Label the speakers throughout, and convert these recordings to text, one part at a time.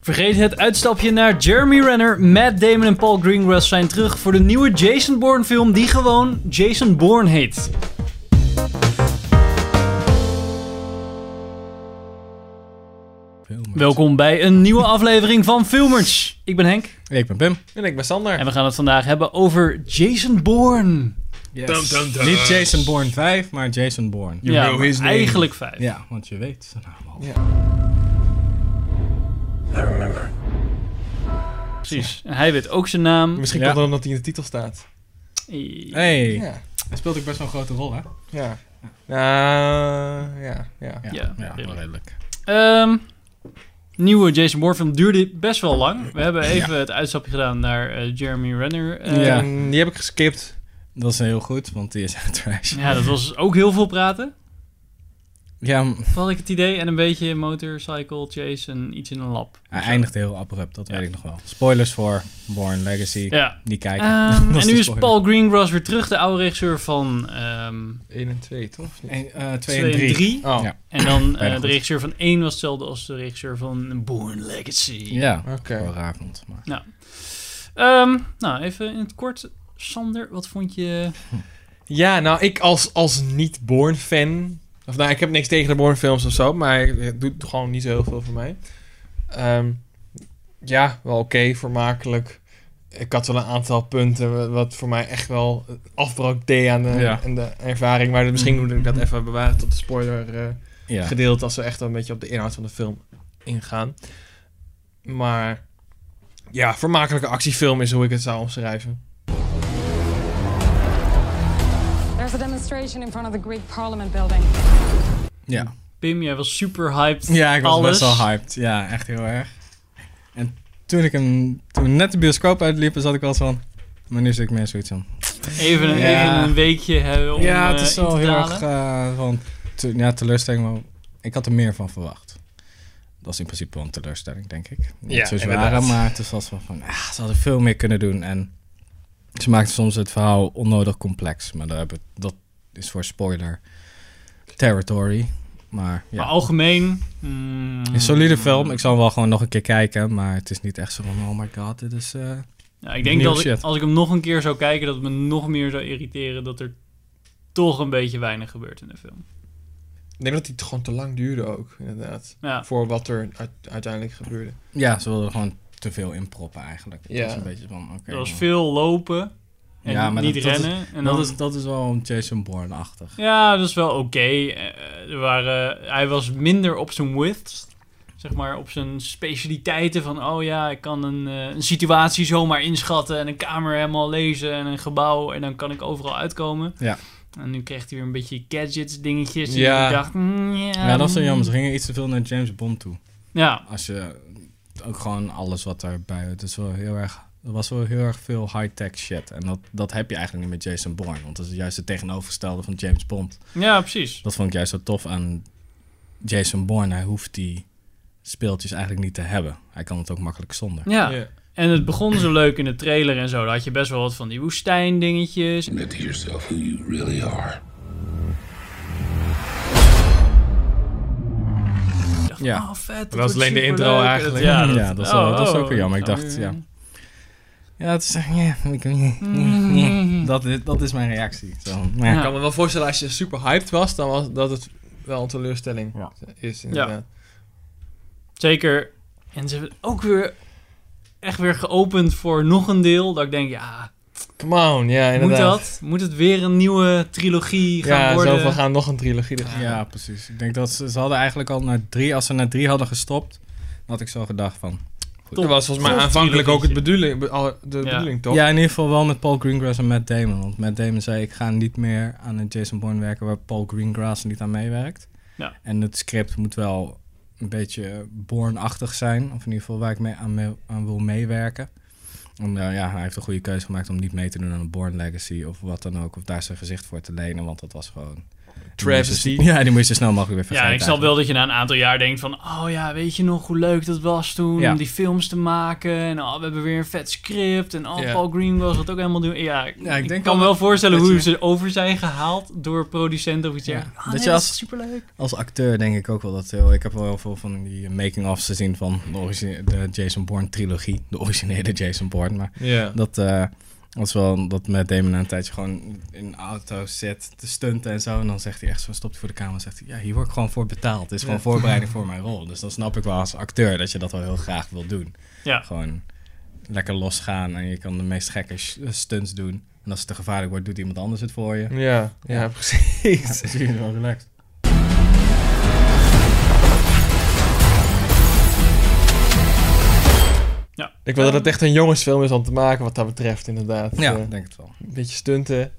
Speaker 1: Vergeet het uitstapje naar Jeremy Renner, Matt Damon en Paul Greengrass zijn terug voor de nieuwe Jason Bourne film die gewoon Jason Bourne heet. Welkom bij een nieuwe aflevering van Filmers. Ik ben Henk
Speaker 2: Ik ben Pim.
Speaker 3: En ik ben Sander.
Speaker 1: en we gaan het vandaag hebben over Jason Bourne.
Speaker 2: Yes.
Speaker 3: Dum, dum, dum.
Speaker 2: Niet Jason Bourne 5, maar Jason Bourne.
Speaker 3: You
Speaker 1: ja,
Speaker 3: know his
Speaker 1: maar
Speaker 3: name.
Speaker 1: eigenlijk vijf.
Speaker 2: Ja, want je weet zijn naam al.
Speaker 1: Precies. En hij weet ook zijn naam.
Speaker 3: Misschien
Speaker 2: Ja.
Speaker 3: komt het omdat hij in de titel staat.
Speaker 2: Hey,
Speaker 3: Ja.
Speaker 2: hij speelt ook best wel een grote rol, hè?
Speaker 3: Ja. Eh, ja, ja.
Speaker 1: Ja,
Speaker 2: ja
Speaker 1: redelijk.
Speaker 2: wel redelijk.
Speaker 1: Ehm, nieuwe Jason Bourne film duurde best wel lang. We hebben even het uitstapje gedaan naar eh, Jeremy Renner. eh,
Speaker 2: Ja.
Speaker 3: En die heb ik geskipt.
Speaker 2: Dat is heel goed, want die is echt trash.
Speaker 1: ja, dat was ook heel veel praten.
Speaker 2: Ja, m-
Speaker 1: Had ik het idee. En een beetje motorcycle chase en iets in een lab.
Speaker 2: hij eindigt heel abrupt, dat
Speaker 1: Ja.
Speaker 2: weet ik nog wel. Spoilers voor Bourne Legacy.
Speaker 1: Ja.
Speaker 2: Die kijken.
Speaker 1: Ehm,
Speaker 2: Dat
Speaker 1: en nu
Speaker 2: de
Speaker 1: is
Speaker 2: spoiler.
Speaker 1: Paul Greengrass weer terug, de oude regisseur van ehm
Speaker 3: 1 en 2, toch? Of niet?
Speaker 2: En, eh, twee
Speaker 1: 2
Speaker 2: en
Speaker 1: en
Speaker 2: drie.
Speaker 1: 3.
Speaker 3: Oh,
Speaker 2: Ja.
Speaker 1: En dan eh,
Speaker 2: Bijna
Speaker 1: de
Speaker 2: goed.
Speaker 1: regisseur van 1 was hetzelfde als de regisseur van Bourne Legacy.
Speaker 2: Ja,
Speaker 3: oké.
Speaker 2: wel raar vond. Maar.
Speaker 1: Ehm, nou, even in het kort. Sander, wat vond je...
Speaker 3: Ja, nou, ik als, als niet-Born-fan... Of nou, ik heb niks tegen de Born-films of zo, maar het doet gewoon niet zo heel veel voor mij. Ehm, ja, wel oké, vermakelijk. Ik had wel een aantal punten wa- wat voor mij echt wel afbrook deed aan de,
Speaker 2: Ja. Mhm.
Speaker 3: aan de ervaring. Maar misschien moet ik dat even bewaren tot de spoiler... eh,
Speaker 2: Ja.
Speaker 3: gedeeld als we echt een beetje op de inhoud van de film ingaan. Maar ja, vermakelijke actiefilm is hoe ik het zou omschrijven.
Speaker 4: There's a demonstration in front of the Greek Parliament building.
Speaker 2: ja.
Speaker 1: Pim, jij was super hyped.
Speaker 2: Ja, ik was
Speaker 1: Alles.
Speaker 2: best wel hyped. Ja, echt heel erg. En toen ik hem, toen we net de bioscoop uitliepen, zat ik al zo van... Maar nu zit ik meer zoiets van...
Speaker 1: Even, een-
Speaker 2: Ja.
Speaker 1: even een weekje hebben om
Speaker 2: ja, het
Speaker 1: eh,
Speaker 2: is
Speaker 1: in
Speaker 2: wel
Speaker 1: te
Speaker 2: heel
Speaker 1: dalen.
Speaker 2: erg eh, van... te- ja, teleurstelling, maar ik had er meer van verwacht. Dat is in principe wel een teleurstelling, denk ik. Niet
Speaker 3: Ja,
Speaker 2: zo zware,
Speaker 3: inderdaad.
Speaker 2: maar het is als van... van ah, ze hadden veel meer kunnen doen en... Ze maakten soms het verhaal onnodig complex. Maar daar hebben- dat is voor spoiler territory. Maar, ja.
Speaker 1: Maar algemeen... mm,
Speaker 2: Een solide film. Ik zal hem wel gewoon nog een keer kijken. Maar het is niet echt zo van, oh my god, dit is... eh,
Speaker 1: Ja, ik denk
Speaker 2: Nieuw
Speaker 1: dat ik,
Speaker 2: shit.
Speaker 1: als ik hem nog een keer zou kijken, dat het me nog meer zou irriteren dat er toch een beetje weinig gebeurt in de film.
Speaker 3: Ik denk dat die gewoon te lang duurde ook, inderdaad.
Speaker 1: Ja,
Speaker 3: Voor wat er uit- uiteindelijk gebeurde.
Speaker 2: Ja, ze wilden er gewoon te veel in proppen eigenlijk. Het
Speaker 3: Ja.
Speaker 2: was een beetje van, oké.
Speaker 1: er was
Speaker 2: man.
Speaker 1: veel lopen en
Speaker 2: Ja, maar
Speaker 1: niet
Speaker 2: dat- dat is-
Speaker 1: rennen. en
Speaker 2: Dat
Speaker 1: dan-
Speaker 2: is, dat is wel een Jason Bourne-achtig.
Speaker 1: Ja, dat is wel oké. Eh, er waren, hij was minder op zijn width. Zeg maar op zijn specialiteiten van, oh ja, ik kan een, eh, een situatie zomaar inschatten en een kamer helemaal lezen en een gebouw en dan kan ik overal uitkomen.
Speaker 2: Ja.
Speaker 1: En nu kreeg hij weer een beetje gadgets, dingetjes. En
Speaker 3: Ja.
Speaker 1: ik dacht, mm, ja,
Speaker 2: Ja, dat is wel jammer. Ze
Speaker 1: mm.
Speaker 2: gingen iets te veel naar James Bond toe.
Speaker 1: Ja,
Speaker 2: Als je ook gewoon alles wat daarbij... Het is wel heel erg... Er was wel heel erg veel high-tech shit. En dat, dat heb je eigenlijk niet met Jason Bourne. Want dat is juist het tegenovergestelde van James Bond.
Speaker 1: ja, precies.
Speaker 2: Dat vond ik juist zo tof aan Jason Bourne. Hij hoeft die speeltjes eigenlijk niet te hebben. Hij kan het ook makkelijk zonder.
Speaker 1: Ja. en het begon zo leuk in de trailer en zo. Daar had je best wel wat van die woestijndingetjes.
Speaker 5: Admit to yourself who you really are.
Speaker 2: Ja.
Speaker 1: Oh, vet. Dat, wordt
Speaker 3: was alleen de intro
Speaker 1: superleuk.
Speaker 3: eigenlijk.
Speaker 1: Ja, dat, Oh,
Speaker 2: Ja, dat is wel- dat is ook wel jammer. Ik
Speaker 1: gaan
Speaker 2: dacht,
Speaker 1: we-
Speaker 2: ja. Ja, dat is... Ja, ik-
Speaker 1: Mm.
Speaker 2: dat, is dat is mijn reactie. Zo, maar
Speaker 1: Ja.
Speaker 3: Ik kan me wel voorstellen als je super hyped was, dan was dat het wel een teleurstelling
Speaker 2: Ja.
Speaker 3: is. Inderdaad.
Speaker 1: Zeker. En ze hebben het ook weer echt weer geopend voor nog een deel. Dat ik denk, ja,
Speaker 3: Come on, ja,
Speaker 1: moet
Speaker 3: inderdaad.
Speaker 1: dat? Moet het weer een nieuwe trilogie gaan
Speaker 3: Ja,
Speaker 1: worden?
Speaker 3: zoveel gaan nog een trilogie. er gaan.
Speaker 2: Ja, precies. Ik denk dat ze, ze hadden eigenlijk al naar drie, als ze naar drie hadden gestopt, had ik zo gedacht van.
Speaker 3: Dat was volgens mij
Speaker 1: Tof
Speaker 3: aanvankelijk ook het
Speaker 1: trilogietje.
Speaker 3: bedoeling, be- al- de
Speaker 1: Ja.
Speaker 3: bedoeling, toch?
Speaker 2: Ja, in ieder geval wel met Paul Greengrass en Matt Damon. Want Matt Damon zei: Ik ga niet meer aan een Jason Bourne werken waar Paul Greengrass niet aan meewerkt.
Speaker 1: Ja.
Speaker 2: En het script moet wel een beetje Bourne-achtig zijn, of in ieder geval waar ik mee aan, mee- aan wil meewerken. En eh, ja, hij heeft een goede keuze gemaakt om niet mee te doen aan een Bourne Legacy of wat dan ook, of daar zijn gezicht voor te lenen, want dat was gewoon
Speaker 3: Travesty.
Speaker 2: Ja, die moet je zo snel mogelijk weer
Speaker 1: Ja,
Speaker 2: vergeten.
Speaker 1: ik snap wel dat je na een aantal jaar denkt van... Oh ja, weet je nog hoe leuk dat was toen
Speaker 2: Ja.
Speaker 1: om die films te maken? En oh, we hebben weer een vet script. En oh,
Speaker 3: Ja.
Speaker 1: Paul Green was dat ook helemaal doen. Ja, ik,
Speaker 2: Ja, ik
Speaker 1: ik
Speaker 2: denk
Speaker 1: kan
Speaker 2: wel
Speaker 1: me wel voorstellen
Speaker 2: dat
Speaker 1: hoe
Speaker 2: je-
Speaker 1: ze over zijn gehaald door producenten of iets. Ja. Ah,
Speaker 2: dat
Speaker 1: nee,
Speaker 2: je
Speaker 1: dat
Speaker 2: als-
Speaker 1: is superleuk.
Speaker 2: Als acteur denk ik ook wel dat heel... Ik heb wel heel veel van die making-ofs gezien van de, origine- de Jason Bourne-trilogie. De originele Jason Bourne, maar...
Speaker 3: Ja.
Speaker 2: Dat eh, was wel dat met Damon na een tijdje gewoon in een auto zit te stunten en zo. En dan zegt hij echt zo, stopt hij voor de camera en zegt hij... Ja, hier word ik gewoon voor betaald. Het is gewoon
Speaker 3: Ja.
Speaker 2: voorbereiding voor mijn rol. Dus dan snap ik wel als acteur dat je dat wel heel graag wil doen.
Speaker 1: Ja.
Speaker 2: Gewoon lekker losgaan en je kan de meest gekke sh- eh, stunts doen. En als het te gevaarlijk wordt, doet iemand anders het voor je.
Speaker 3: Ja, ja, precies.
Speaker 2: Dat is wel relaxed.
Speaker 3: Ik wil dat het echt een jongensfilm is om te maken wat dat betreft, inderdaad.
Speaker 2: Ja,
Speaker 3: Eh,
Speaker 2: ik denk het wel.
Speaker 3: een beetje stunten.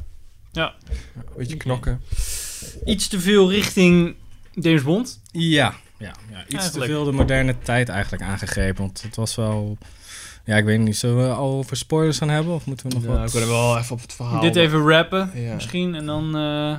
Speaker 1: Ja.
Speaker 3: Een beetje knokken.
Speaker 1: Iets te veel richting James Bond.
Speaker 2: Ja, ja, ja iets
Speaker 1: Eigenlijk.
Speaker 2: te veel de moderne tijd eigenlijk aangegrepen. Want het was wel... Ja, ik weet niet. Zullen we al over spoilers gaan hebben? Of moeten we nog
Speaker 3: Ja,
Speaker 2: wat...
Speaker 3: we kunnen
Speaker 1: eh,
Speaker 3: wel even op het verhaal.
Speaker 1: Dit even rappen
Speaker 3: Ja.
Speaker 1: misschien. En dan... eh,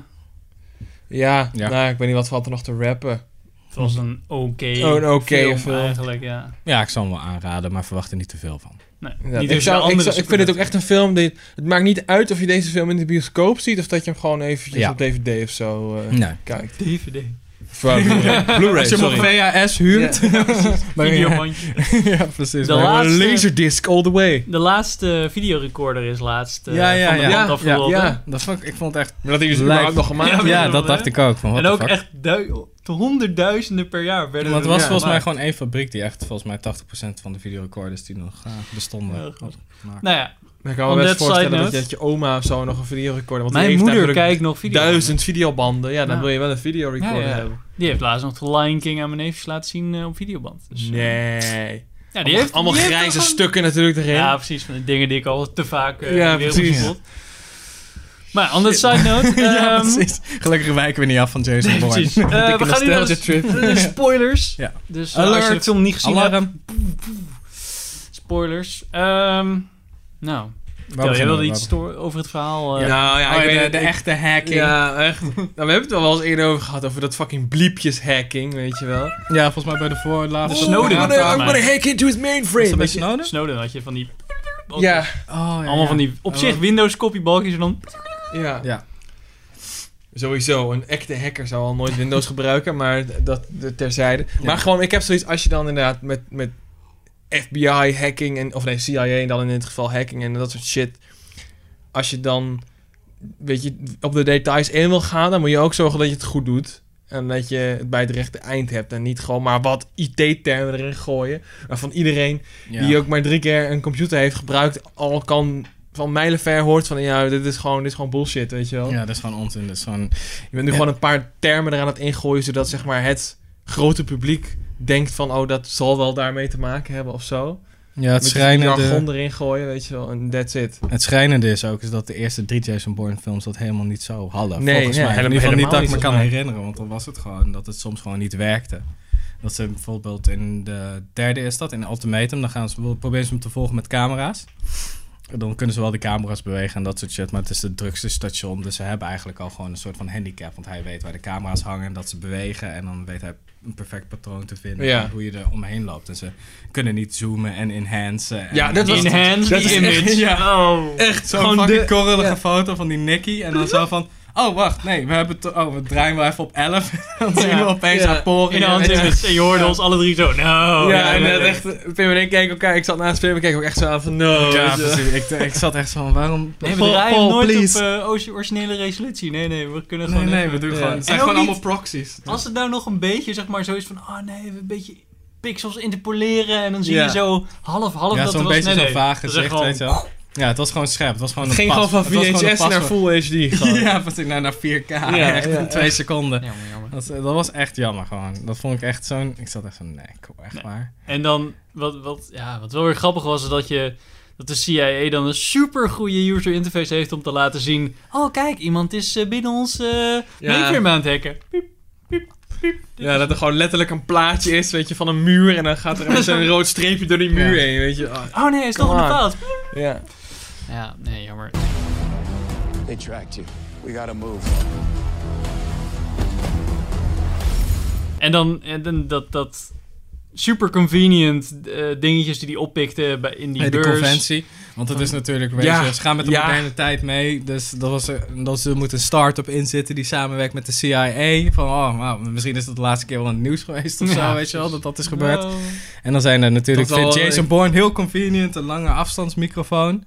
Speaker 3: Ja,
Speaker 2: Ja.
Speaker 3: Nou, ik weet niet wat valt er nog te rappen.
Speaker 1: het was een oké
Speaker 3: Oh, een oké
Speaker 1: film,
Speaker 3: film.
Speaker 1: eigenlijk, ja.
Speaker 2: Ja, ik zal hem wel aanraden, maar verwacht er niet te veel van.
Speaker 1: Nee,
Speaker 3: Ja,
Speaker 1: niet
Speaker 3: ik,
Speaker 1: als je
Speaker 3: zou-
Speaker 1: een
Speaker 3: ik,
Speaker 1: andere
Speaker 3: zou- ik vind het ook echt een film. Die, het maakt niet uit of je deze film in de bioscoop ziet of dat je hem gewoon eventjes
Speaker 2: Ja.
Speaker 3: op DVD of zo eh,
Speaker 2: Nee.
Speaker 3: kijkt.
Speaker 1: DVD.
Speaker 3: Of, eh, Blu-ray. Blu-ray,
Speaker 2: Als je hem op
Speaker 3: sorry.
Speaker 2: VHS huurt...
Speaker 3: Ja.
Speaker 2: Maar-
Speaker 1: Videobandje.
Speaker 2: ja, precies.
Speaker 1: De
Speaker 2: Maar-
Speaker 1: laatste-
Speaker 3: Laserdisc all the way.
Speaker 1: De laatste videorecorder is laatst eh,
Speaker 2: Ja, ja,
Speaker 1: van de
Speaker 2: ja.
Speaker 1: band
Speaker 2: Ja,
Speaker 1: afgelopen.
Speaker 2: Ja, dat vond ik, ik vond het echt...
Speaker 3: Maar dat hij dus
Speaker 2: Lijkt-
Speaker 3: überhaupt nog gemaakt
Speaker 1: Ja,
Speaker 2: Ja,
Speaker 1: maar-
Speaker 2: dat dacht ik ook. Van, what
Speaker 1: En
Speaker 2: the
Speaker 1: ook
Speaker 2: fuck.
Speaker 1: echt du- te honderdduizenden per jaar werden
Speaker 2: Want het was
Speaker 1: er
Speaker 2: volgens mij
Speaker 1: gemaakt.
Speaker 2: gewoon één fabriek die echt volgens mij 80% van de videorecorders die nog eh, bestonden.
Speaker 1: Ja,
Speaker 2: had gemaakt.
Speaker 1: Nou ja,
Speaker 3: Maar ik kan me
Speaker 1: On
Speaker 3: best
Speaker 1: that side
Speaker 3: voorstellen dat je,
Speaker 1: note-
Speaker 3: dat je oma of zo nog een videorecorder... Want die
Speaker 1: mijn
Speaker 3: heeft
Speaker 1: moeder
Speaker 3: namelijk
Speaker 1: kijkt nog video's.
Speaker 3: duizend videobanden. Ja, dan
Speaker 1: Ja.
Speaker 3: wil je wel een videorecorder
Speaker 1: Ja, ja.
Speaker 3: hebben.
Speaker 1: Die heeft laatst nog The Lion King aan mijn neefjes laten zien eh, op videoband. Dus, eh,
Speaker 3: Nee.
Speaker 1: Ja, die
Speaker 3: allemaal
Speaker 1: heeft,
Speaker 3: allemaal
Speaker 1: die heeft
Speaker 3: grijze
Speaker 1: er gewoon-
Speaker 3: stukken natuurlijk erin.
Speaker 1: Ja, precies. Van de dingen die ik al te vaak eh
Speaker 3: Ja,
Speaker 1: ja,
Speaker 3: precies.
Speaker 1: precies. Maar on that side note...
Speaker 2: ja,
Speaker 1: ehm,
Speaker 2: precies. Gelukkig wijken we niet af van Jason
Speaker 1: nee,
Speaker 2: Bourne.
Speaker 1: precies. Eh, we gaan nu naar de
Speaker 3: nostalgia
Speaker 1: s- de spoilers.
Speaker 2: Ja.
Speaker 1: Dus eh, als je de
Speaker 2: Alert.
Speaker 1: film niet gezien hebt,
Speaker 2: Alarm.
Speaker 1: spoilers. Ehm, nou, Tel, jij
Speaker 2: Waar beginnen
Speaker 1: wilde
Speaker 2: we?
Speaker 1: iets stoor- over het verhaal... eh,
Speaker 3: Nou ja,
Speaker 2: Oh,
Speaker 3: ik
Speaker 2: ja,
Speaker 3: weet
Speaker 2: de,
Speaker 3: het,
Speaker 2: de
Speaker 3: ik-
Speaker 2: echte hacking. Ja.
Speaker 3: Ja, echt. Nou, we hebben het al wel eens eerder over gehad, over dat fucking bliepjes hacking, weet je wel. Oh,
Speaker 2: volgens mij bij de voorlaatste.
Speaker 1: De Snowden.
Speaker 3: I'm
Speaker 1: Snowden.
Speaker 3: gonna, I'm gonna hack into his
Speaker 2: Is
Speaker 3: mainframe.
Speaker 2: dat bij
Speaker 3: weet je.
Speaker 2: Snowden?
Speaker 1: Snowden had je van die...
Speaker 3: Ja,
Speaker 2: Oh, ja,
Speaker 1: Allemaal
Speaker 2: ja.
Speaker 1: van die op zich Windows kopiebalkjes en dan...
Speaker 3: ja.
Speaker 2: Ja.
Speaker 3: Sowieso, een echte hacker zou al nooit Windows gebruiken, maar dat dat terzijde. Maar gewoon, ik heb zoiets, als je dan inderdaad met, met FBI hacking, en, of nee, CIA dan in dit geval hacking en dat soort shit. Als je dan, weet je, op de details in wil gaan, dan moet je ook zorgen dat je het goed doet. En dat je het bij het rechte eind hebt en niet gewoon maar wat IT-termen erin gooien. Waarvan iedereen
Speaker 2: Ja.
Speaker 3: die ook maar drie keer een computer heeft gebruikt, al kan van mijlenver hoort van ja, dit is gewoon, dit is gewoon bullshit, weet je wel.
Speaker 2: Ja, dat is gewoon onzin. Dat is gewoon...
Speaker 3: Je bent nu
Speaker 2: Ja.
Speaker 3: gewoon een paar termen eraan aan het ingooien, zodat zeg maar het grote publiek denkt van, oh, dat zal wel daarmee te maken hebben of zo.
Speaker 2: Ja, het
Speaker 3: Met jargon
Speaker 2: schrijnende,
Speaker 3: erin gooien, weet je wel, en that's it.
Speaker 2: het schrijnende is ook is dat de eerste drie Jason Bourne films dat helemaal niet zo hadden.
Speaker 3: Nee,
Speaker 2: volgens
Speaker 3: nee,
Speaker 2: mij. in
Speaker 3: helemaal-
Speaker 2: ieder geval niet dat ik me kan
Speaker 3: helemaal niet,
Speaker 2: herinneren, want dan was het gewoon dat het soms gewoon niet werkte. Dat ze bijvoorbeeld in de derde is dat, in Ultimatum, dan gaan ze, proberen ze hem te volgen met camera's. En Dan kunnen ze wel de camera's bewegen en dat soort shit, maar het is het drukste station. Dus ze hebben eigenlijk al gewoon een soort van handicap, want hij weet waar de camera's hangen en dat ze bewegen. En dan weet hij een perfect patroon te vinden
Speaker 3: Ja.
Speaker 2: en hoe je er omheen loopt. En ze kunnen niet zoomen en enhancen. en-
Speaker 3: Ja, dat was-
Speaker 1: Enhance
Speaker 3: dat
Speaker 1: the
Speaker 3: is echt-
Speaker 1: image. Oh.
Speaker 3: Echt,
Speaker 2: Zo'n fucking korrelige foto van die Nicky. En dan zo van... Oh, wacht. Nee, we, hebben het- oh, we draaien wel even op 11. dan zien we opeens
Speaker 3: Ja.
Speaker 2: haar poren.
Speaker 1: In de hand in het- en je hoorde ons alle drie zo. No.
Speaker 3: ja, en
Speaker 2: ja,
Speaker 3: dat
Speaker 2: ja.
Speaker 3: echt, Pim en ik kijken elkaar, ik zat naast Pim en kijken ook echt zo aan van, no.
Speaker 2: Ja,
Speaker 3: weet je wel.
Speaker 2: precies. Ik, ik zat echt zo van... Waarom...
Speaker 1: Nee, we
Speaker 2: Paul,
Speaker 1: draaien
Speaker 2: Paul,
Speaker 1: nooit
Speaker 2: please.
Speaker 1: op eh, orig- originele resolutie. Nee, nee, we kunnen
Speaker 2: Nee,
Speaker 1: gewoon...
Speaker 2: nee,
Speaker 1: even-
Speaker 2: we doen
Speaker 3: Ja.
Speaker 2: gewoon... Het zijn
Speaker 1: En ook
Speaker 2: gewoon allemaal
Speaker 1: niet-
Speaker 2: proxies.
Speaker 1: Als het nou nog een beetje, zeg maar, zo is van... Ah, nee, we een beetje pixels interpoleren. En dan zie
Speaker 3: Ja.
Speaker 1: je zo half, half
Speaker 2: Ja,
Speaker 1: dat er
Speaker 2: zo'n
Speaker 1: was.
Speaker 2: beetje
Speaker 1: nee,
Speaker 2: zo'n
Speaker 1: nee.
Speaker 2: vaag
Speaker 1: Dat is
Speaker 2: gezicht,
Speaker 1: gewoon-
Speaker 2: weet je wel. Ja, het was gewoon scherp. Het was gewoon
Speaker 3: Het
Speaker 2: een
Speaker 3: ging
Speaker 2: pas.
Speaker 3: gewoon van
Speaker 2: Het was gewoon een
Speaker 3: VHS naar
Speaker 2: paswoord.
Speaker 3: Full HD gewoon.
Speaker 2: Ja, was ik nou naar 4K.
Speaker 3: Ja,
Speaker 2: echt
Speaker 3: ja,
Speaker 2: in twee seconden.
Speaker 1: Jammer, jammer.
Speaker 2: Dat, dat was echt jammer gewoon. Dat vond ik echt zo'n... Ik zat echt van... Nee, kom, echt
Speaker 1: Nee.
Speaker 2: waar.
Speaker 1: En dan, wat, wat, ja, wat wel weer grappig was, is dat je... Dat de CIA dan een super goede user interface heeft om te laten zien. Oh, kijk, iemand is eh, binnen ons eh mainframe aan het hacken.
Speaker 3: Ja, dat er gewoon letterlijk een plaatje is, weet je, van een muur. En dan gaat er zo'n rood streepje door die muur
Speaker 2: Ja.
Speaker 3: heen, weet je. Ah,
Speaker 1: Oh nee, hij is
Speaker 3: Come
Speaker 1: toch in de
Speaker 3: on.
Speaker 1: fout.
Speaker 3: ja.
Speaker 1: Ja, nee, jammer.
Speaker 6: They tracked you. We gotta move.
Speaker 1: En dan, en dan dat, dat super convenient eh, dingetjes die die oppikte bij, in die
Speaker 2: Hey, de
Speaker 1: beurs.
Speaker 2: conventie. Want het is natuurlijk
Speaker 3: Ja,
Speaker 2: racist. Ze gaan met de
Speaker 3: ja.
Speaker 2: moderne tijd mee. Dus dat was er, dat ze moet een start-up in zitten die samenwerkt met de CIA. Van, oh, wauw, misschien is dat de laatste keer wel in het nieuws geweest of
Speaker 1: Ja,
Speaker 2: zo, weet je wel, dat dat is gebeurd.
Speaker 1: Nou,
Speaker 2: En dan zijn er natuurlijk,
Speaker 1: Dat wel, eh,
Speaker 2: vindt Jason
Speaker 1: ik-
Speaker 2: Bourne heel convenient, een lange afstandsmicrofoon.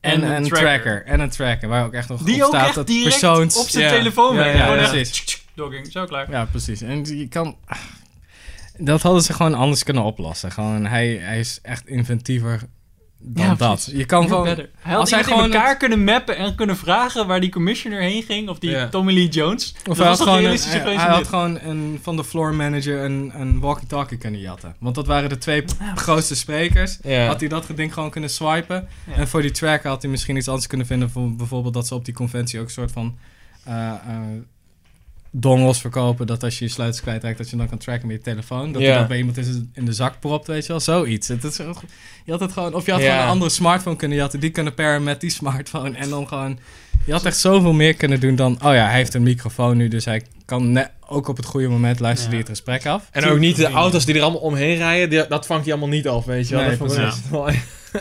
Speaker 2: En,
Speaker 1: En
Speaker 2: en
Speaker 1: een
Speaker 2: een tracker.
Speaker 1: tracker.
Speaker 2: En een tracker, waar ook echt nog
Speaker 1: Die
Speaker 2: op
Speaker 1: ook
Speaker 2: staat
Speaker 1: echt
Speaker 2: dat
Speaker 1: direct
Speaker 2: persoons...
Speaker 1: op zijn
Speaker 2: Ja.
Speaker 1: telefoon.
Speaker 2: Ja,
Speaker 1: werd.
Speaker 2: ja,
Speaker 1: Gewoon echt
Speaker 2: precies.
Speaker 1: tsk, tsk, Dogging, zo klaar.
Speaker 2: Ja, precies. En je kan... ah, Dat hadden ze gewoon anders kunnen oplossen. Gewoon, hij, hij is echt inventiever dan
Speaker 1: Ja,
Speaker 2: dat.
Speaker 1: precies.
Speaker 2: Je kan
Speaker 1: Heel
Speaker 2: gewoon...
Speaker 1: better. Hij had
Speaker 2: als hij
Speaker 1: iemand
Speaker 2: gewoon
Speaker 1: in elkaar kunnen mappen en kunnen vragen waar die commissioner heen ging. Of die
Speaker 3: Ja.
Speaker 1: Tommy Lee Jones.
Speaker 2: Of
Speaker 1: dat was
Speaker 2: hij had,
Speaker 1: toch
Speaker 2: gewoon een,
Speaker 1: realistischer
Speaker 2: hij-
Speaker 1: geweest
Speaker 2: hij
Speaker 1: dan
Speaker 2: had
Speaker 1: dit?
Speaker 2: gewoon een, van de floor manager een, een walkie-talkie kunnen jatten. Want dat waren de twee grootste sprekers.
Speaker 3: Ja.
Speaker 2: Had hij dat ding gewoon kunnen swipen.
Speaker 1: Ja.
Speaker 2: En voor die tracker had hij misschien iets anders kunnen vinden. Voor bijvoorbeeld dat ze op die conventie ook een soort van eh eh, dongels verkopen. Dat als je je sleutels kwijtraakt, dat je dan kan tracken met je telefoon. Dat
Speaker 3: Ja.
Speaker 2: hij dat bij iemand in, zijn- in de zak propt, weet je wel. Zoiets. Het is, heel goed. je had het gewoon, of je had
Speaker 3: Ja.
Speaker 2: gewoon een andere smartphone kunnen jatten. Die kunnen pairen met die smartphone. En dan gewoon... Je had echt zoveel meer kunnen doen dan... Oh ja, hij heeft een microfoon nu, dus hij kan ne- ook op het goede moment
Speaker 1: Ja.
Speaker 2: luisteren die het gesprek af.
Speaker 3: En ook niet de auto's die er allemaal omheen rijden, die- dat vangt hij allemaal niet af, weet je wel.
Speaker 2: Nee,
Speaker 3: dat vond ik
Speaker 1: precies.
Speaker 3: echt wel echt-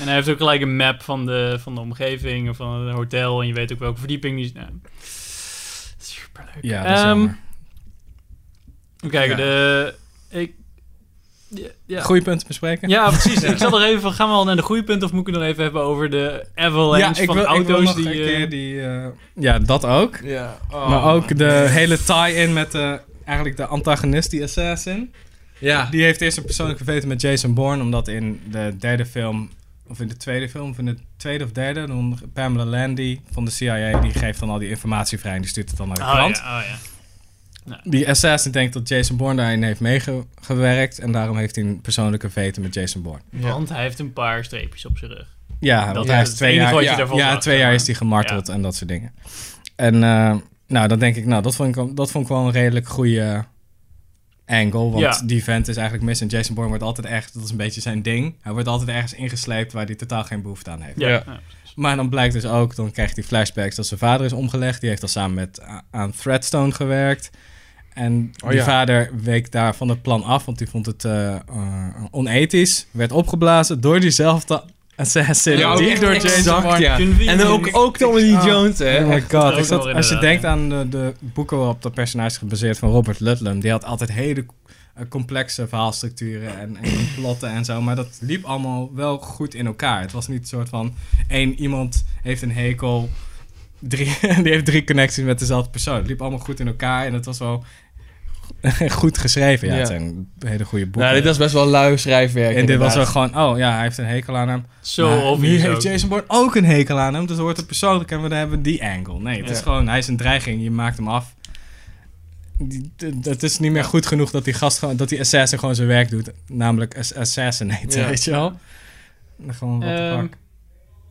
Speaker 1: En hij heeft ook gelijk een map van de, van de omgeving. Of van het hotel. En je weet ook welke verdieping die... Nou, superleuk.
Speaker 2: Ja, dat is
Speaker 1: Ehm,
Speaker 2: jammer.
Speaker 1: Even kijken,
Speaker 2: Ja.
Speaker 1: de... Ik, ja, ja.
Speaker 2: Groeipunten bespreken?
Speaker 1: Ja, precies. Ik zal er even van, gaan we al naar de goeipunt of moet ik het nog even hebben over de
Speaker 2: Ja,
Speaker 1: avalanche
Speaker 2: ik
Speaker 1: van
Speaker 2: wil, ik wil
Speaker 1: auto's
Speaker 2: nog
Speaker 1: die...
Speaker 2: een
Speaker 1: eh, Oh.
Speaker 2: keer die... eh, ja, dat ook.
Speaker 3: Ja.
Speaker 2: maar ook de hele tie-in met de, eigenlijk de antagonist, die assassin.
Speaker 3: Ja.
Speaker 2: Die heeft eerst een persoonlijke vete met Jason Bourne, omdat in de derde film... Of in de tweede film, of in de tweede of derde, dan Pamela Landy van de CIA, die geeft dan al die informatie vrij en die stuurt het dan naar de
Speaker 1: Oh,
Speaker 2: klant.
Speaker 1: ja, oh ja.
Speaker 2: Die assassin denkt dat Jason Bourne daarin heeft meegewerkt. En daarom heeft hij een persoonlijke vete met Jason Bourne.
Speaker 3: Ja.
Speaker 1: Want hij heeft een paar streepjes op zijn rug.
Speaker 2: Ja,
Speaker 1: Dat
Speaker 2: want
Speaker 1: is
Speaker 2: hij is
Speaker 1: het
Speaker 2: twee
Speaker 1: enige
Speaker 2: jaar,
Speaker 1: wat je
Speaker 2: ja,
Speaker 1: daarvan
Speaker 2: ja,
Speaker 1: zag,
Speaker 2: twee
Speaker 1: zeg
Speaker 2: jaar
Speaker 1: maar.
Speaker 2: is hij gemarteld en dat soort dingen. En eh, nou, dan denk ik, nou, dat vond ik, wel- dat vond ik wel een redelijk goede angle. Want
Speaker 1: Ja.
Speaker 2: die vent is eigenlijk mis. En Jason Bourne wordt altijd ergens, dat is een beetje zijn ding. Hij wordt altijd ergens ingesleept waar hij totaal geen behoefte aan heeft.
Speaker 1: Ja.
Speaker 3: Ja.
Speaker 1: ja.
Speaker 2: Maar dan blijkt dus ook, dan krijgt hij flashbacks dat zijn vader is omgelegd. Die heeft al samen met a- aan Threadstone gewerkt. En
Speaker 3: Oh,
Speaker 2: die
Speaker 3: ja.
Speaker 2: vader week daar van het plan af, want die vond het eh, eh, onethisch. Werd opgeblazen door diezelfde assassin.
Speaker 3: Ja, ook
Speaker 2: die
Speaker 3: echt
Speaker 2: door
Speaker 3: exact,
Speaker 2: Jason Bourne.
Speaker 3: ja. En
Speaker 1: Convenient.
Speaker 3: ook, ook Tommy Lee
Speaker 2: Ah.
Speaker 3: Jones, hè.
Speaker 2: Oh my god,
Speaker 1: ook
Speaker 2: is dat-
Speaker 1: wel
Speaker 2: als je
Speaker 1: inderdaad,
Speaker 2: denkt
Speaker 1: ja.
Speaker 2: aan de, de boeken waarop dat personage is gebaseerd van Robert Ludlum, die had altijd hele eh, complexe verhaalstructuren en, en plotten en zo, maar dat liep allemaal wel goed in elkaar. Het was niet een soort van één iemand heeft een hekel, drie, die heeft drie connecties met dezelfde persoon. Het liep allemaal goed in elkaar en het was wel goed geschreven. Ja,
Speaker 3: Ja.
Speaker 2: het zijn hele goede boeken.
Speaker 3: Nou, dit was best wel lui schrijfwerk.
Speaker 2: en dit was wel
Speaker 3: inderdaad.
Speaker 2: gewoon, oh ja, hij heeft een hekel aan hem.
Speaker 1: Zo
Speaker 2: Maar nu
Speaker 1: obvious ook.
Speaker 2: heeft Jason Bourne ook een hekel aan hem. Dus hoort het persoonlijk en we hebben die angle. Nee, het
Speaker 3: Ja.
Speaker 2: is gewoon, hij is een dreiging. Je maakt hem af. Die- d- Het is niet meer goed genoeg dat die gast gewoon, dat die assassin gewoon zijn werk doet. Namelijk ass- assassinaten,
Speaker 3: Ja.
Speaker 2: weet je wel? Gewoon wat
Speaker 1: Ehm,
Speaker 2: fuck.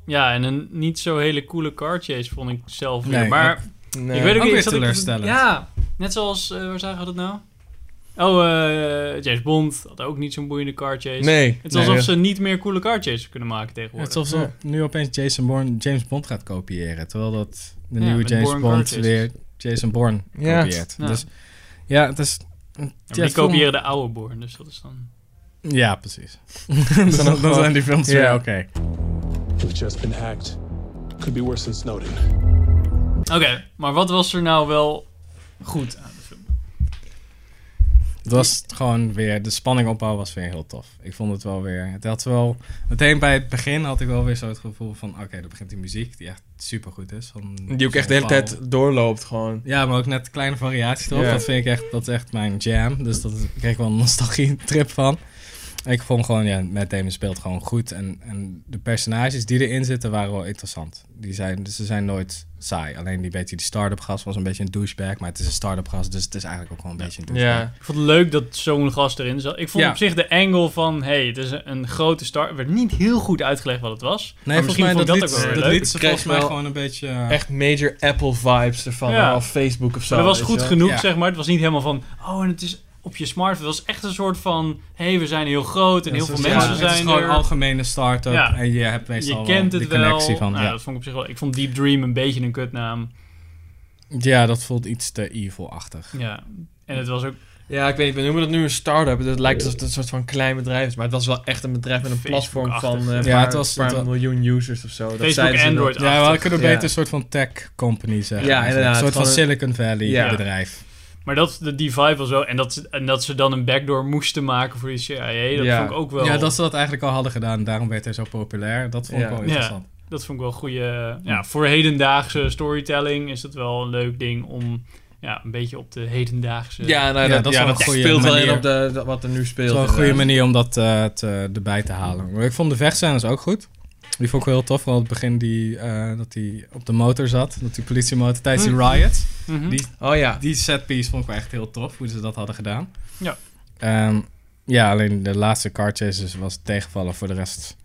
Speaker 1: Ja, en een niet zo hele coole car chase vond ik zelf weer.
Speaker 2: Nee,
Speaker 1: maar
Speaker 3: Nee.
Speaker 1: ik weet ook, niet...
Speaker 2: Ook weer
Speaker 1: ik zat- ik-
Speaker 2: teleurstellend.
Speaker 1: Ja, net zoals... eh, waar zagen we dat nou? Oh, eh, James Bond had ook niet zo'n boeiende car chase.
Speaker 3: Nee.
Speaker 1: Het is alsof
Speaker 3: Nee.
Speaker 1: ze niet meer coole car chases kunnen maken
Speaker 2: Het
Speaker 1: tegenwoordig.
Speaker 2: is alsof nu opeens Jason Bourne James Bond gaat kopiëren. Terwijl dat de
Speaker 1: Ja,
Speaker 2: nieuwe
Speaker 1: met
Speaker 2: James
Speaker 1: Bourne
Speaker 2: Bond
Speaker 1: cartoons.
Speaker 2: weer Jason Bourne
Speaker 3: Ja.
Speaker 2: kopieert.
Speaker 1: Ja.
Speaker 2: Dus ja, het is...
Speaker 1: Ja,
Speaker 2: ja,
Speaker 1: maar
Speaker 2: het
Speaker 1: die
Speaker 2: voelt-
Speaker 1: kopiëren de oude Bourne, dus dat is dan...
Speaker 2: Ja, precies. dan, dan
Speaker 3: gewoon-
Speaker 2: zijn die films weer
Speaker 3: Ja.
Speaker 2: oké.
Speaker 6: We've just been hacked. Could be worse than Snowden.
Speaker 1: Oké, maar wat was er nou wel goed aan de film?
Speaker 2: Het was gewoon weer, de spanning opbouw was weer heel tof. Ik vond het wel weer, het had wel, meteen bij het begin had ik wel weer zo het gevoel van, oké, dan begint die muziek die echt supergoed is. Van,
Speaker 3: Die ook echt de hele
Speaker 2: Paul.
Speaker 3: tijd doorloopt gewoon.
Speaker 2: Ja, maar ook net kleine variaties erop.
Speaker 3: Ja.
Speaker 2: Dat vind ik echt, dat is echt mijn jam. Dus dat is- daar kreeg ik wel een nostalgie trip van. Ik vond gewoon, ja, Matt Damon speelt gewoon goed. En, en de personages die erin zitten waren wel interessant. Die zijn, dus ze zijn nooit saai. Alleen die beetje die start-up gast was een beetje een douchebag. Maar het is een start-up gast, dus het is eigenlijk ook gewoon een beetje een douchebag.
Speaker 3: Ja.
Speaker 1: Ik vond het leuk dat zo'n gast erin zat. Ik vond
Speaker 2: Ja.
Speaker 1: op zich de angle van, hey, het is een, een grote start. Er werd niet heel goed uitgelegd wat het was.
Speaker 2: Nee,
Speaker 1: maar
Speaker 2: volgens mij
Speaker 1: misschien
Speaker 2: dat,
Speaker 1: vond ik
Speaker 2: liet,
Speaker 1: dat ook wel weer
Speaker 2: dat
Speaker 1: leuk.
Speaker 2: liet ze
Speaker 3: Ik kreeg
Speaker 2: volgens mij
Speaker 3: wel
Speaker 2: gewoon een beetje... eh,
Speaker 3: Echt major Apple vibes ervan.
Speaker 1: Ja.
Speaker 3: Of Facebook of zo.
Speaker 1: Maar dat was
Speaker 3: weet
Speaker 1: goed
Speaker 3: je wel.
Speaker 1: genoeg,
Speaker 2: Ja.
Speaker 1: zeg maar. Het was niet helemaal van, oh, en het is op je smartphone. Het was echt een soort van, hey, we zijn heel groot en heel veel
Speaker 2: het is
Speaker 1: mensen
Speaker 2: gewoon- Het is
Speaker 1: zijn
Speaker 2: gewoon een
Speaker 1: er.
Speaker 2: algemene start-up
Speaker 1: Ja.
Speaker 2: en je hebt meestal
Speaker 1: Je kent
Speaker 2: wel
Speaker 1: het
Speaker 2: die
Speaker 1: wel.
Speaker 2: connectie van...
Speaker 1: Nou,
Speaker 2: ja.
Speaker 1: dat vond ik op zich wel. Ik vond Deep Dream een beetje een kutnaam.
Speaker 2: ja, dat voelt iets te evil-achtig.
Speaker 1: Ja. En het was ook
Speaker 3: Ja, ik weet niet, we noemen dat nu een start-up. Dat lijkt alsof het een soort van klein bedrijf is. Maar het was wel echt een bedrijf met een platform van eh,
Speaker 1: Facebook-achtig.
Speaker 2: Ja,
Speaker 3: paar,
Speaker 2: het was-
Speaker 3: paar
Speaker 2: het was-
Speaker 3: miljoen users of zo. Dat
Speaker 1: Facebook,
Speaker 3: zeiden ze dan.
Speaker 1: Android.
Speaker 2: Ja, we
Speaker 1: achtig.
Speaker 2: kunnen
Speaker 3: Ja.
Speaker 2: beter een soort van tech company zeggen.
Speaker 3: Ja,
Speaker 2: eigenlijk.
Speaker 3: inderdaad,
Speaker 2: Een soort van
Speaker 3: gewoon een-
Speaker 2: Silicon Valley
Speaker 3: Ja.
Speaker 2: bedrijf.
Speaker 1: Maar dat, de die vibe was wel... En dat, ze- en dat ze dan een backdoor moesten maken voor die CIA, dat
Speaker 3: Ja.
Speaker 1: vond ik ook wel...
Speaker 2: Ja, dat ze dat eigenlijk al hadden gedaan. Daarom werd hij zo populair. Dat vond ik
Speaker 3: Ja.
Speaker 2: wel
Speaker 1: Ja.
Speaker 2: interessant.
Speaker 1: Dat vond ik wel goede. Ja, voor hedendaagse storytelling is dat wel een leuk ding om ja, een beetje op de hedendaagse.
Speaker 3: Ja, nou,
Speaker 2: Ja,
Speaker 3: dat,
Speaker 2: dat is
Speaker 3: ja,
Speaker 2: wel
Speaker 3: dat
Speaker 2: een goede
Speaker 3: speelt wel in
Speaker 2: manier.
Speaker 3: op de, dat- wat er nu speelt.
Speaker 2: Het is wel een
Speaker 3: inderdaad.
Speaker 2: goede manier om dat eh, te- erbij te halen. Maar ik vond de vechtscènes ook goed. Die vond ik wel heel tof. Vooral het begin die, eh, dat hij op de motor zat. Dat die politiemotor tijdens die riots.
Speaker 1: Mhm.
Speaker 2: Die,
Speaker 3: Oh ja.
Speaker 2: die setpiece vond ik wel echt heel tof. Hoe ze dat hadden gedaan.
Speaker 1: Ja.
Speaker 2: Ehm, ja, alleen de laatste car chases was tegenvallen. Voor de rest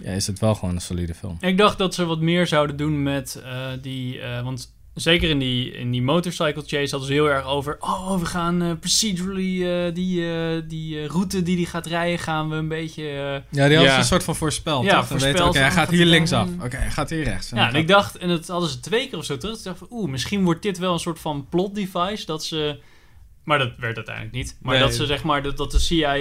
Speaker 2: ja, is het wel gewoon een solide film.
Speaker 1: Ik dacht dat ze wat meer zouden doen met eh, die. eh, want zeker in die, in die motorcycle chase hadden ze heel erg over. Oh, we gaan eh, procedurally eh, die, eh, die eh, route die die gaat rijden, gaan we een beetje. eh,
Speaker 2: Ja, die hadden
Speaker 3: Ja.
Speaker 2: ze een soort van voorspeld.
Speaker 1: Ja,
Speaker 2: toch? Dan
Speaker 1: voorspeld
Speaker 2: weten we, Oké, hij
Speaker 1: van,
Speaker 2: gaat
Speaker 1: gaat
Speaker 2: hier
Speaker 1: hij
Speaker 2: linksaf.
Speaker 1: dan-
Speaker 2: Oké, hij gaat hier rechts.
Speaker 1: ja, en
Speaker 2: dan
Speaker 1: ik dacht, en dat hadden ze twee keer of zo terug. Ik dacht van, oeh, misschien wordt dit wel een soort van plot device dat ze. Maar dat werd uiteindelijk niet. Maar
Speaker 3: Nee.
Speaker 1: dat ze zeg maar dat, dat de CIA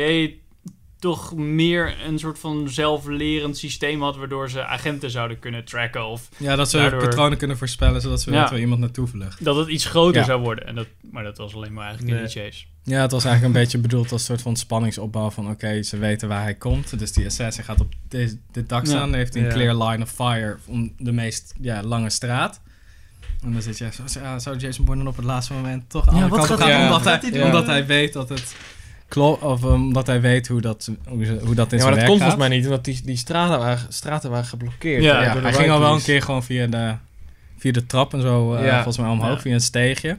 Speaker 1: toch meer een soort van zelflerend systeem had, waardoor ze agenten zouden kunnen tracken of
Speaker 2: Ja, dat ze
Speaker 1: Daardoor-
Speaker 2: patronen kunnen voorspellen, zodat ze
Speaker 1: Ja.
Speaker 2: weten waar iemand naartoe vlucht.
Speaker 1: dat het iets groter
Speaker 2: Ja.
Speaker 1: zou worden. En dat, maar dat was alleen maar eigenlijk in
Speaker 3: Nee.
Speaker 1: die chase.
Speaker 2: Ja, het was eigenlijk een beetje bedoeld als een soort van spanningsopbouw van... oké, ze weten waar hij komt, dus die assassin gaat op deze, dit dak
Speaker 1: Ja.
Speaker 2: staan... dan heeft hij een
Speaker 3: Ja.
Speaker 2: clear line of fire om de meest ja, lange straat. En dan zit je echt zo, ja, zou Jason Bourne dan op het laatste moment toch aan
Speaker 1: Ja,
Speaker 2: de
Speaker 1: wat
Speaker 2: kant
Speaker 1: gaat
Speaker 2: gaan...
Speaker 3: hij doen?
Speaker 2: omdat,
Speaker 1: Wat
Speaker 2: hij,
Speaker 1: gaat
Speaker 3: hij doen?
Speaker 2: omdat hij weet dat het klopt, of omdat hij weet hoe dat, hoe, ze- hoe dat in
Speaker 3: Ja, maar
Speaker 2: zijn
Speaker 3: dat
Speaker 2: werk
Speaker 3: komt
Speaker 2: gaat.
Speaker 3: volgens mij niet, omdat die, die straten, waren, straten waren geblokkeerd.
Speaker 1: Ja,
Speaker 3: hè,
Speaker 2: Ja,
Speaker 3: door de
Speaker 2: hij ging al wel een
Speaker 3: Vikings.
Speaker 2: keer gewoon via de, via de trap en zo, eh,
Speaker 3: Ja.
Speaker 2: volgens mij omhoog,
Speaker 1: Ja.
Speaker 2: via een steegje.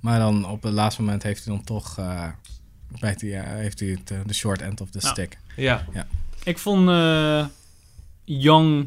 Speaker 2: Maar dan op het laatste moment heeft hij dan toch, eh, bijt hij, eh, heeft hij het, eh, de short end of the
Speaker 1: Nou.
Speaker 2: stick.
Speaker 3: Ja.
Speaker 1: Ik vond eh, Young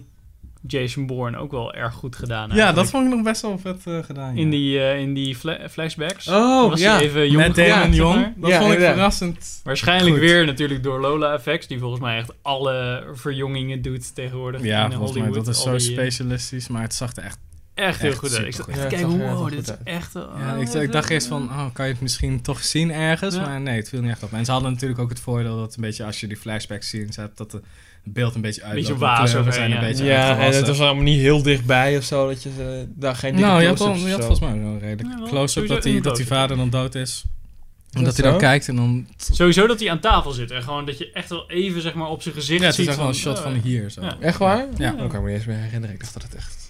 Speaker 1: Jason Bourne ook wel erg goed gedaan.
Speaker 2: ja, dat
Speaker 1: eigenlijk.
Speaker 2: vond ik nog best wel vet eh, gedaan.
Speaker 1: in
Speaker 2: ja.
Speaker 1: die, eh, in die fla- flashbacks.
Speaker 3: Oh,
Speaker 1: was
Speaker 3: ja.
Speaker 1: hij even jong
Speaker 2: Matt Damon
Speaker 1: gemaakt, zeg
Speaker 2: Jong,
Speaker 1: maar.
Speaker 2: dat
Speaker 3: Ja,
Speaker 2: vond ik
Speaker 3: inderdaad.
Speaker 2: verrassend.
Speaker 1: Waarschijnlijk
Speaker 2: Goed.
Speaker 1: weer natuurlijk door Lola Effects, die volgens mij echt alle verjongingen doet tegenwoordig
Speaker 2: Ja,
Speaker 1: in
Speaker 2: volgens
Speaker 1: Hollywood.
Speaker 2: mij, dat is
Speaker 1: Al
Speaker 2: zo
Speaker 1: die, eh,
Speaker 2: specialistisch, maar het zag er echt...
Speaker 1: Echt heel
Speaker 2: echt
Speaker 1: goed uit. Ik zat
Speaker 2: supergoed.
Speaker 1: echt
Speaker 3: Ja,
Speaker 1: te
Speaker 3: het
Speaker 1: kijken,
Speaker 3: zag er echt
Speaker 1: wow,
Speaker 3: goed
Speaker 1: dit is
Speaker 3: uit.
Speaker 1: echt...
Speaker 2: Ja,
Speaker 1: oh,
Speaker 2: ik, ik dacht eerst van, oh, kan je het misschien toch zien ergens?
Speaker 1: Ja.
Speaker 2: Maar nee, het viel niet echt op. En ze hadden natuurlijk ook het voordeel dat een beetje als je die flashbacks ziet, hebt, dat het beeld een beetje uitloopt.
Speaker 1: Beetje
Speaker 2: De
Speaker 1: wazig,
Speaker 2: kleuren zijn
Speaker 1: hè,
Speaker 2: een
Speaker 1: ja.
Speaker 2: beetje
Speaker 3: Ja, en
Speaker 2: uitgewassen.
Speaker 3: het was allemaal niet heel dichtbij of zo, dat je eh, daar geen dikke
Speaker 2: Nou, je had,
Speaker 3: close-ups
Speaker 2: wel,
Speaker 3: of
Speaker 2: je had
Speaker 3: zo.
Speaker 2: volgens mij wel een redelijk
Speaker 1: Ja, wel.
Speaker 2: close-up
Speaker 1: Sowieso
Speaker 2: dat, die,
Speaker 1: een
Speaker 2: dat die
Speaker 1: close-up.
Speaker 2: vader dan dood is. En
Speaker 3: dat
Speaker 2: dat hij dan
Speaker 3: zo?
Speaker 2: kijkt en dan...
Speaker 1: Sowieso dat hij aan tafel zit en gewoon dat je echt wel even zeg maar op zijn gezicht
Speaker 2: Ja, het is
Speaker 1: ziet.
Speaker 2: echt wel een shot
Speaker 1: oh,
Speaker 2: van hier zo.
Speaker 1: Ja.
Speaker 3: Echt waar?
Speaker 2: Ja.
Speaker 3: Oh, Ik kan me niet eens meer herinneren. Ik dacht dat het echt...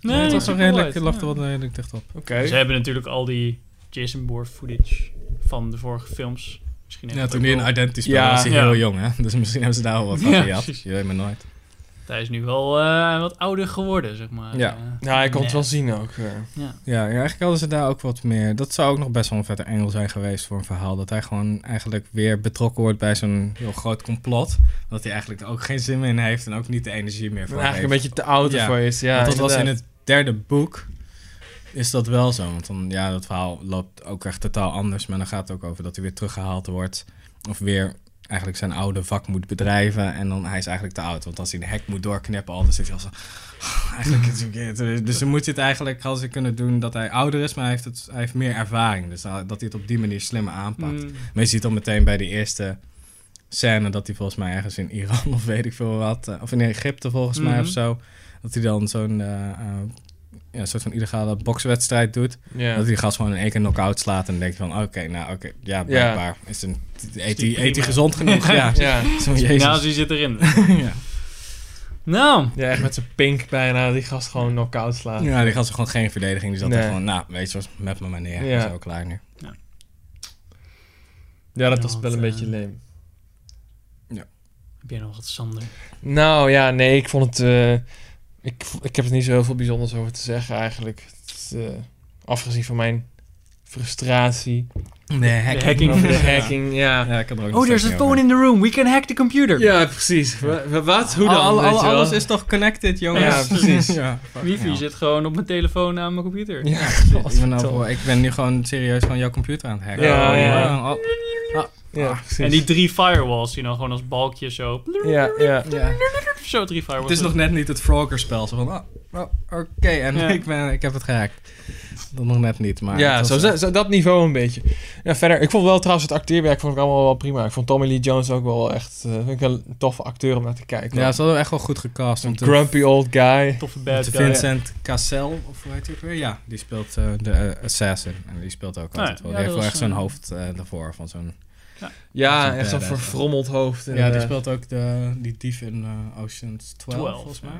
Speaker 1: Nee,
Speaker 2: het was
Speaker 1: ziet er
Speaker 2: wel redelijk,
Speaker 1: uit,
Speaker 2: het lag
Speaker 1: ja.
Speaker 2: er wel redelijk dicht op.
Speaker 3: Oké.
Speaker 1: Ze hebben natuurlijk al die Jason Bourne footage van de vorige films. Misschien heeft
Speaker 2: Ja,
Speaker 1: dat
Speaker 2: toen
Speaker 1: ook
Speaker 2: hij een
Speaker 1: wel-
Speaker 2: identity spel
Speaker 3: Ja.
Speaker 2: was, hij
Speaker 1: Ja.
Speaker 2: heel jong hè. Dus misschien hebben ze daar al wat van
Speaker 1: Ja,
Speaker 2: gehad.
Speaker 1: precies.
Speaker 2: Je weet maar nooit.
Speaker 1: Hij is nu wel eh, wat ouder geworden, zeg maar.
Speaker 2: Ja.
Speaker 1: Eh,
Speaker 3: Nou, ik kon
Speaker 1: nee.
Speaker 3: het wel zien ook. eh.
Speaker 1: Ja.
Speaker 2: Ja, ja, eigenlijk hadden ze daar ook wat meer... Dat zou ook nog best wel een vette engel zijn geweest voor een verhaal. Dat hij gewoon eigenlijk weer betrokken wordt bij zo'n heel groot complot. Dat hij eigenlijk er ook geen zin meer in heeft en ook niet de energie meer voor
Speaker 3: Eigenlijk
Speaker 2: heeft.
Speaker 3: een beetje te oud
Speaker 2: Ja.
Speaker 3: ervoor is. Ja,
Speaker 2: want dat was in
Speaker 3: inderdaad.
Speaker 2: het derde boek. Is dat wel zo? Want dan, ja, dat verhaal loopt ook echt totaal anders. Maar dan gaat het ook over dat hij weer teruggehaald wordt. Of weer eigenlijk zijn oude vak moet bedrijven. En dan hij is eigenlijk te oud. Want als hij de hek moet doorknippen, al, dan zit hij al zo. Eigenlijk is het verkeerd. Dus dan moet je het eigenlijk als ze kunnen doen dat hij ouder is. Maar hij heeft, het, hij heeft meer ervaring. Dus dat hij het op die manier slimmer aanpakt.
Speaker 1: Mm.
Speaker 2: Maar je ziet dan meteen bij die eerste scène dat hij volgens mij ergens in Iran of weet ik veel wat, eh, of in Egypte volgens mij
Speaker 1: Mhm.
Speaker 2: of zo, dat hij dan zo'n eh, eh, ja, soort van illegale bokswedstrijd doet.
Speaker 3: Ja.
Speaker 2: Dat hij gast gewoon in één keer knock-out slaat en dan denk je van oké, nou oké, ja, blijkbaar. Is een, eet hij eet hij
Speaker 1: prima.
Speaker 2: gezond genoeg? ja,
Speaker 3: Ja.
Speaker 2: Zo'n Oh, Jezus.
Speaker 1: Nazi zit erin.
Speaker 2: ja.
Speaker 1: nou,
Speaker 3: ja, echt met zijn pink bijna. Die gast gewoon knock-out slaat.
Speaker 2: ja, die gast had gewoon geen verdediging. Die zat
Speaker 3: Nee.
Speaker 2: echt gewoon, nou weet je wat, met me maar neer.
Speaker 3: Ja.
Speaker 2: Zo klaar nu.
Speaker 3: Ja, dat
Speaker 1: Ja,
Speaker 3: was
Speaker 1: want,
Speaker 3: wel een
Speaker 1: eh,
Speaker 3: beetje leem.
Speaker 1: heb jij nog wat, Sander?
Speaker 3: Nou ja, nee, ik vond het. eh, ik, v- ik heb er niet zo heel veel bijzonders over te zeggen eigenlijk. Het is, eh, afgezien van mijn frustratie
Speaker 2: Nee, hacking.
Speaker 1: De hacking.
Speaker 3: over de hacking. Ja,
Speaker 2: Ja, ik had er ook nog
Speaker 1: Oh, there's
Speaker 2: steeds
Speaker 1: a
Speaker 2: niet over.
Speaker 1: phone in the room. We can hack the computer.
Speaker 3: ja precies. Wa- wa- Wat? Hoe dan?
Speaker 2: Al- al-
Speaker 3: weet je wel?
Speaker 2: alles is toch connected, jongens?
Speaker 3: Ja, precies.
Speaker 2: ja,
Speaker 1: Wifi
Speaker 2: Ja.
Speaker 1: zit gewoon op mijn telefoon aan mijn computer.
Speaker 3: Ja,
Speaker 2: Ik ben, nou
Speaker 3: godverdomme.
Speaker 2: voor- ik ben nu gewoon serieus gewoon jouw computer aan het hacken.
Speaker 3: Ja,
Speaker 2: Oh,
Speaker 3: ja.
Speaker 2: oh,
Speaker 3: Ja, precies.
Speaker 1: En die drie firewalls die dan gewoon als balkjes zo...
Speaker 3: Ja, ja.
Speaker 2: ja.
Speaker 1: Zo drie firewalls.
Speaker 2: Het is nog net niet het Frogger-spel. Zo van, oh, oh, oké, en
Speaker 1: Ja.
Speaker 2: ik, ben, ik heb het gehackt. Dat nog net niet, maar...
Speaker 3: ja,
Speaker 2: het
Speaker 3: zo,
Speaker 2: was-
Speaker 3: zo, dat niveau een beetje. Ja, verder, ik vond wel trouwens het acteerwerk vond ik allemaal wel prima. Ik vond Tommy Lee Jones ook wel echt eh, vind ik wel een toffe acteur om naar te kijken.
Speaker 2: Ja, ze hadden echt wel goed gecast. om
Speaker 3: een
Speaker 2: te-
Speaker 3: grumpy old guy.
Speaker 1: Toffe bad
Speaker 2: te
Speaker 1: guy.
Speaker 2: Vincent Cassel, of hoe heet hij ook weer? Ja, die speelt eh, de eh, Assassin. En die speelt ook
Speaker 1: ja,
Speaker 2: altijd wel.
Speaker 1: ja,
Speaker 2: Die heeft
Speaker 1: dat
Speaker 2: wel
Speaker 1: was,
Speaker 2: echt zo'n
Speaker 1: eh,
Speaker 2: hoofd eh, daarvoor. Van zo'n, Eh,
Speaker 3: Ja,
Speaker 2: Zo'n
Speaker 3: echt zo'n
Speaker 2: badass.
Speaker 3: verfrommeld hoofd.
Speaker 2: ja, die
Speaker 3: inderdaad.
Speaker 2: speelt ook de, die dief in eh, Ocean's 12,
Speaker 1: 12,
Speaker 2: volgens
Speaker 1: ja.
Speaker 2: mij.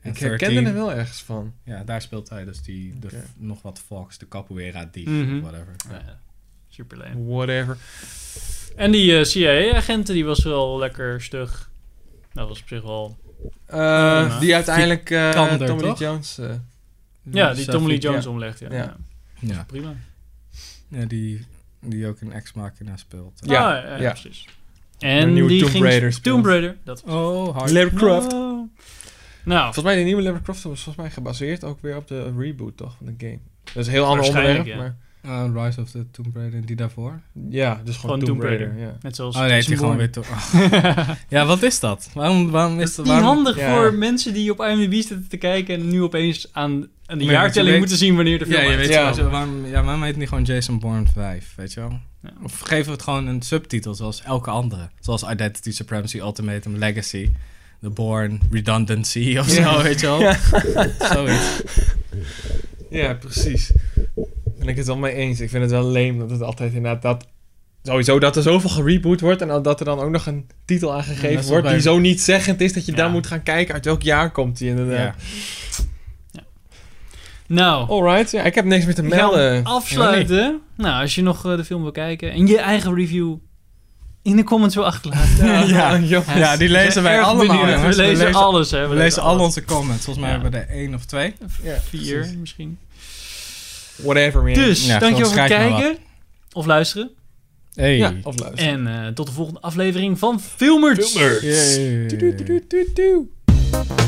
Speaker 2: En
Speaker 3: Ik herkende
Speaker 2: 13.
Speaker 3: er wel ergens van.
Speaker 2: Ja, daar speelt hij dus die, de,
Speaker 3: Oké.
Speaker 2: nog wat Fox, de capoeira dief,
Speaker 1: Mhm.
Speaker 2: of whatever.
Speaker 1: Ja, super lame.
Speaker 3: Whatever.
Speaker 1: En die eh, CIA-agenten, die was wel lekker stug. Dat was op zich wel...
Speaker 3: Eh,
Speaker 1: Ja.
Speaker 3: die uiteindelijk eh
Speaker 2: Vikander,
Speaker 3: Tommy Lee
Speaker 2: toch?
Speaker 3: Jones. eh,
Speaker 1: Ja, die Tommy Lee
Speaker 2: Seth-
Speaker 1: Jones omlegt, ja.
Speaker 3: Ja.
Speaker 1: ja.
Speaker 2: Ja,
Speaker 1: Prima.
Speaker 2: ja die, die ook in Ex Machina speelt.
Speaker 1: Ja,
Speaker 3: Ja,
Speaker 1: Ah, ja,
Speaker 3: ja.
Speaker 1: precies. En
Speaker 3: nieuwe
Speaker 1: die
Speaker 3: Tomb
Speaker 1: ging
Speaker 3: Raider speelt.
Speaker 1: Tomb Raider. Dat
Speaker 2: Oh, hard.
Speaker 3: Lara Croft.
Speaker 1: Oh. Nou,
Speaker 3: Volgens mij de nieuwe Lara Croft was volgens mij gebaseerd ook weer op de reboot toch van de game. Dat is een heel ander
Speaker 1: Waarschijnlijk,
Speaker 3: onderwerp,
Speaker 1: ja.
Speaker 3: maar
Speaker 2: Eh, Rise of the Tomb Raider en die daarvoor.
Speaker 3: ja, dus gewoon, Tomb, Raider. Ja.
Speaker 1: net zoals...
Speaker 2: Oh nee, het is
Speaker 1: Jason
Speaker 2: gewoon
Speaker 1: Bourne.
Speaker 2: weer... to- ja, wat is dat? Waarom, waarom is dat?
Speaker 1: Niet
Speaker 2: Waarom...
Speaker 1: handig
Speaker 3: Ja.
Speaker 1: voor mensen die op IMDb zitten te kijken... en nu opeens aan, aan de
Speaker 2: je
Speaker 1: jaartelling
Speaker 2: weet-
Speaker 1: moeten zien wanneer de film
Speaker 2: Ja, je
Speaker 1: uit
Speaker 2: weet
Speaker 1: is.
Speaker 3: Ja.
Speaker 2: sowieso, waarom, ja, waarom heet het niet gewoon Jason Bourne 5, weet je wel?
Speaker 1: Ja.
Speaker 2: Of geven we het gewoon een subtitel zoals elke andere. Zoals Identity, Supremacy, Ultimatum, Legacy, The Bourne, Redundancy of zo, weet je wel? Zoiets.
Speaker 3: Ja, precies. Ben ik het wel mee eens. Ik vind het wel leem dat het altijd inderdaad dat... Sowieso dat er zoveel gereboot wordt en dat er dan ook nog een titel aan
Speaker 2: Ja, dat
Speaker 3: gegeven
Speaker 2: is
Speaker 3: wordt
Speaker 2: wel
Speaker 3: die
Speaker 2: bij-
Speaker 3: zo niet zeggend is dat je
Speaker 1: Ja.
Speaker 3: dan moet gaan kijken uit welk jaar komt die
Speaker 2: Ja.
Speaker 3: inderdaad.
Speaker 1: Nou,
Speaker 3: Alright, ja, ik heb niks meer te
Speaker 1: ik ga hem
Speaker 3: melden.
Speaker 1: afsluiten. Nou, als je nog eh, de film wil kijken... en je eigen review in de comments wil achterlaten...
Speaker 3: Ja, ja,
Speaker 1: Ja,
Speaker 2: Ja, die
Speaker 1: we zijn
Speaker 2: lezen wij
Speaker 1: erg
Speaker 2: allemaal,
Speaker 1: benieuwd. We
Speaker 2: jongens. We
Speaker 1: lezen,
Speaker 2: lezen-
Speaker 1: alles, hè.
Speaker 2: We lezen al
Speaker 1: alles.
Speaker 2: onze comments. Volgens mij
Speaker 1: Ja.
Speaker 2: hebben we er één of twee.
Speaker 3: Ja,
Speaker 1: Vier
Speaker 3: precies.
Speaker 1: misschien.
Speaker 3: Whatever, man.
Speaker 1: Dus,
Speaker 2: Ja,
Speaker 1: dankjewel voor het
Speaker 2: schrijf maar
Speaker 1: kijken. Of luisteren.
Speaker 2: Hey.
Speaker 3: Ja, of luister.
Speaker 1: En eh, tot de volgende aflevering van Filmers.
Speaker 3: Filmers.
Speaker 2: Yay.
Speaker 3: Doe, doe, doe, doe, doe.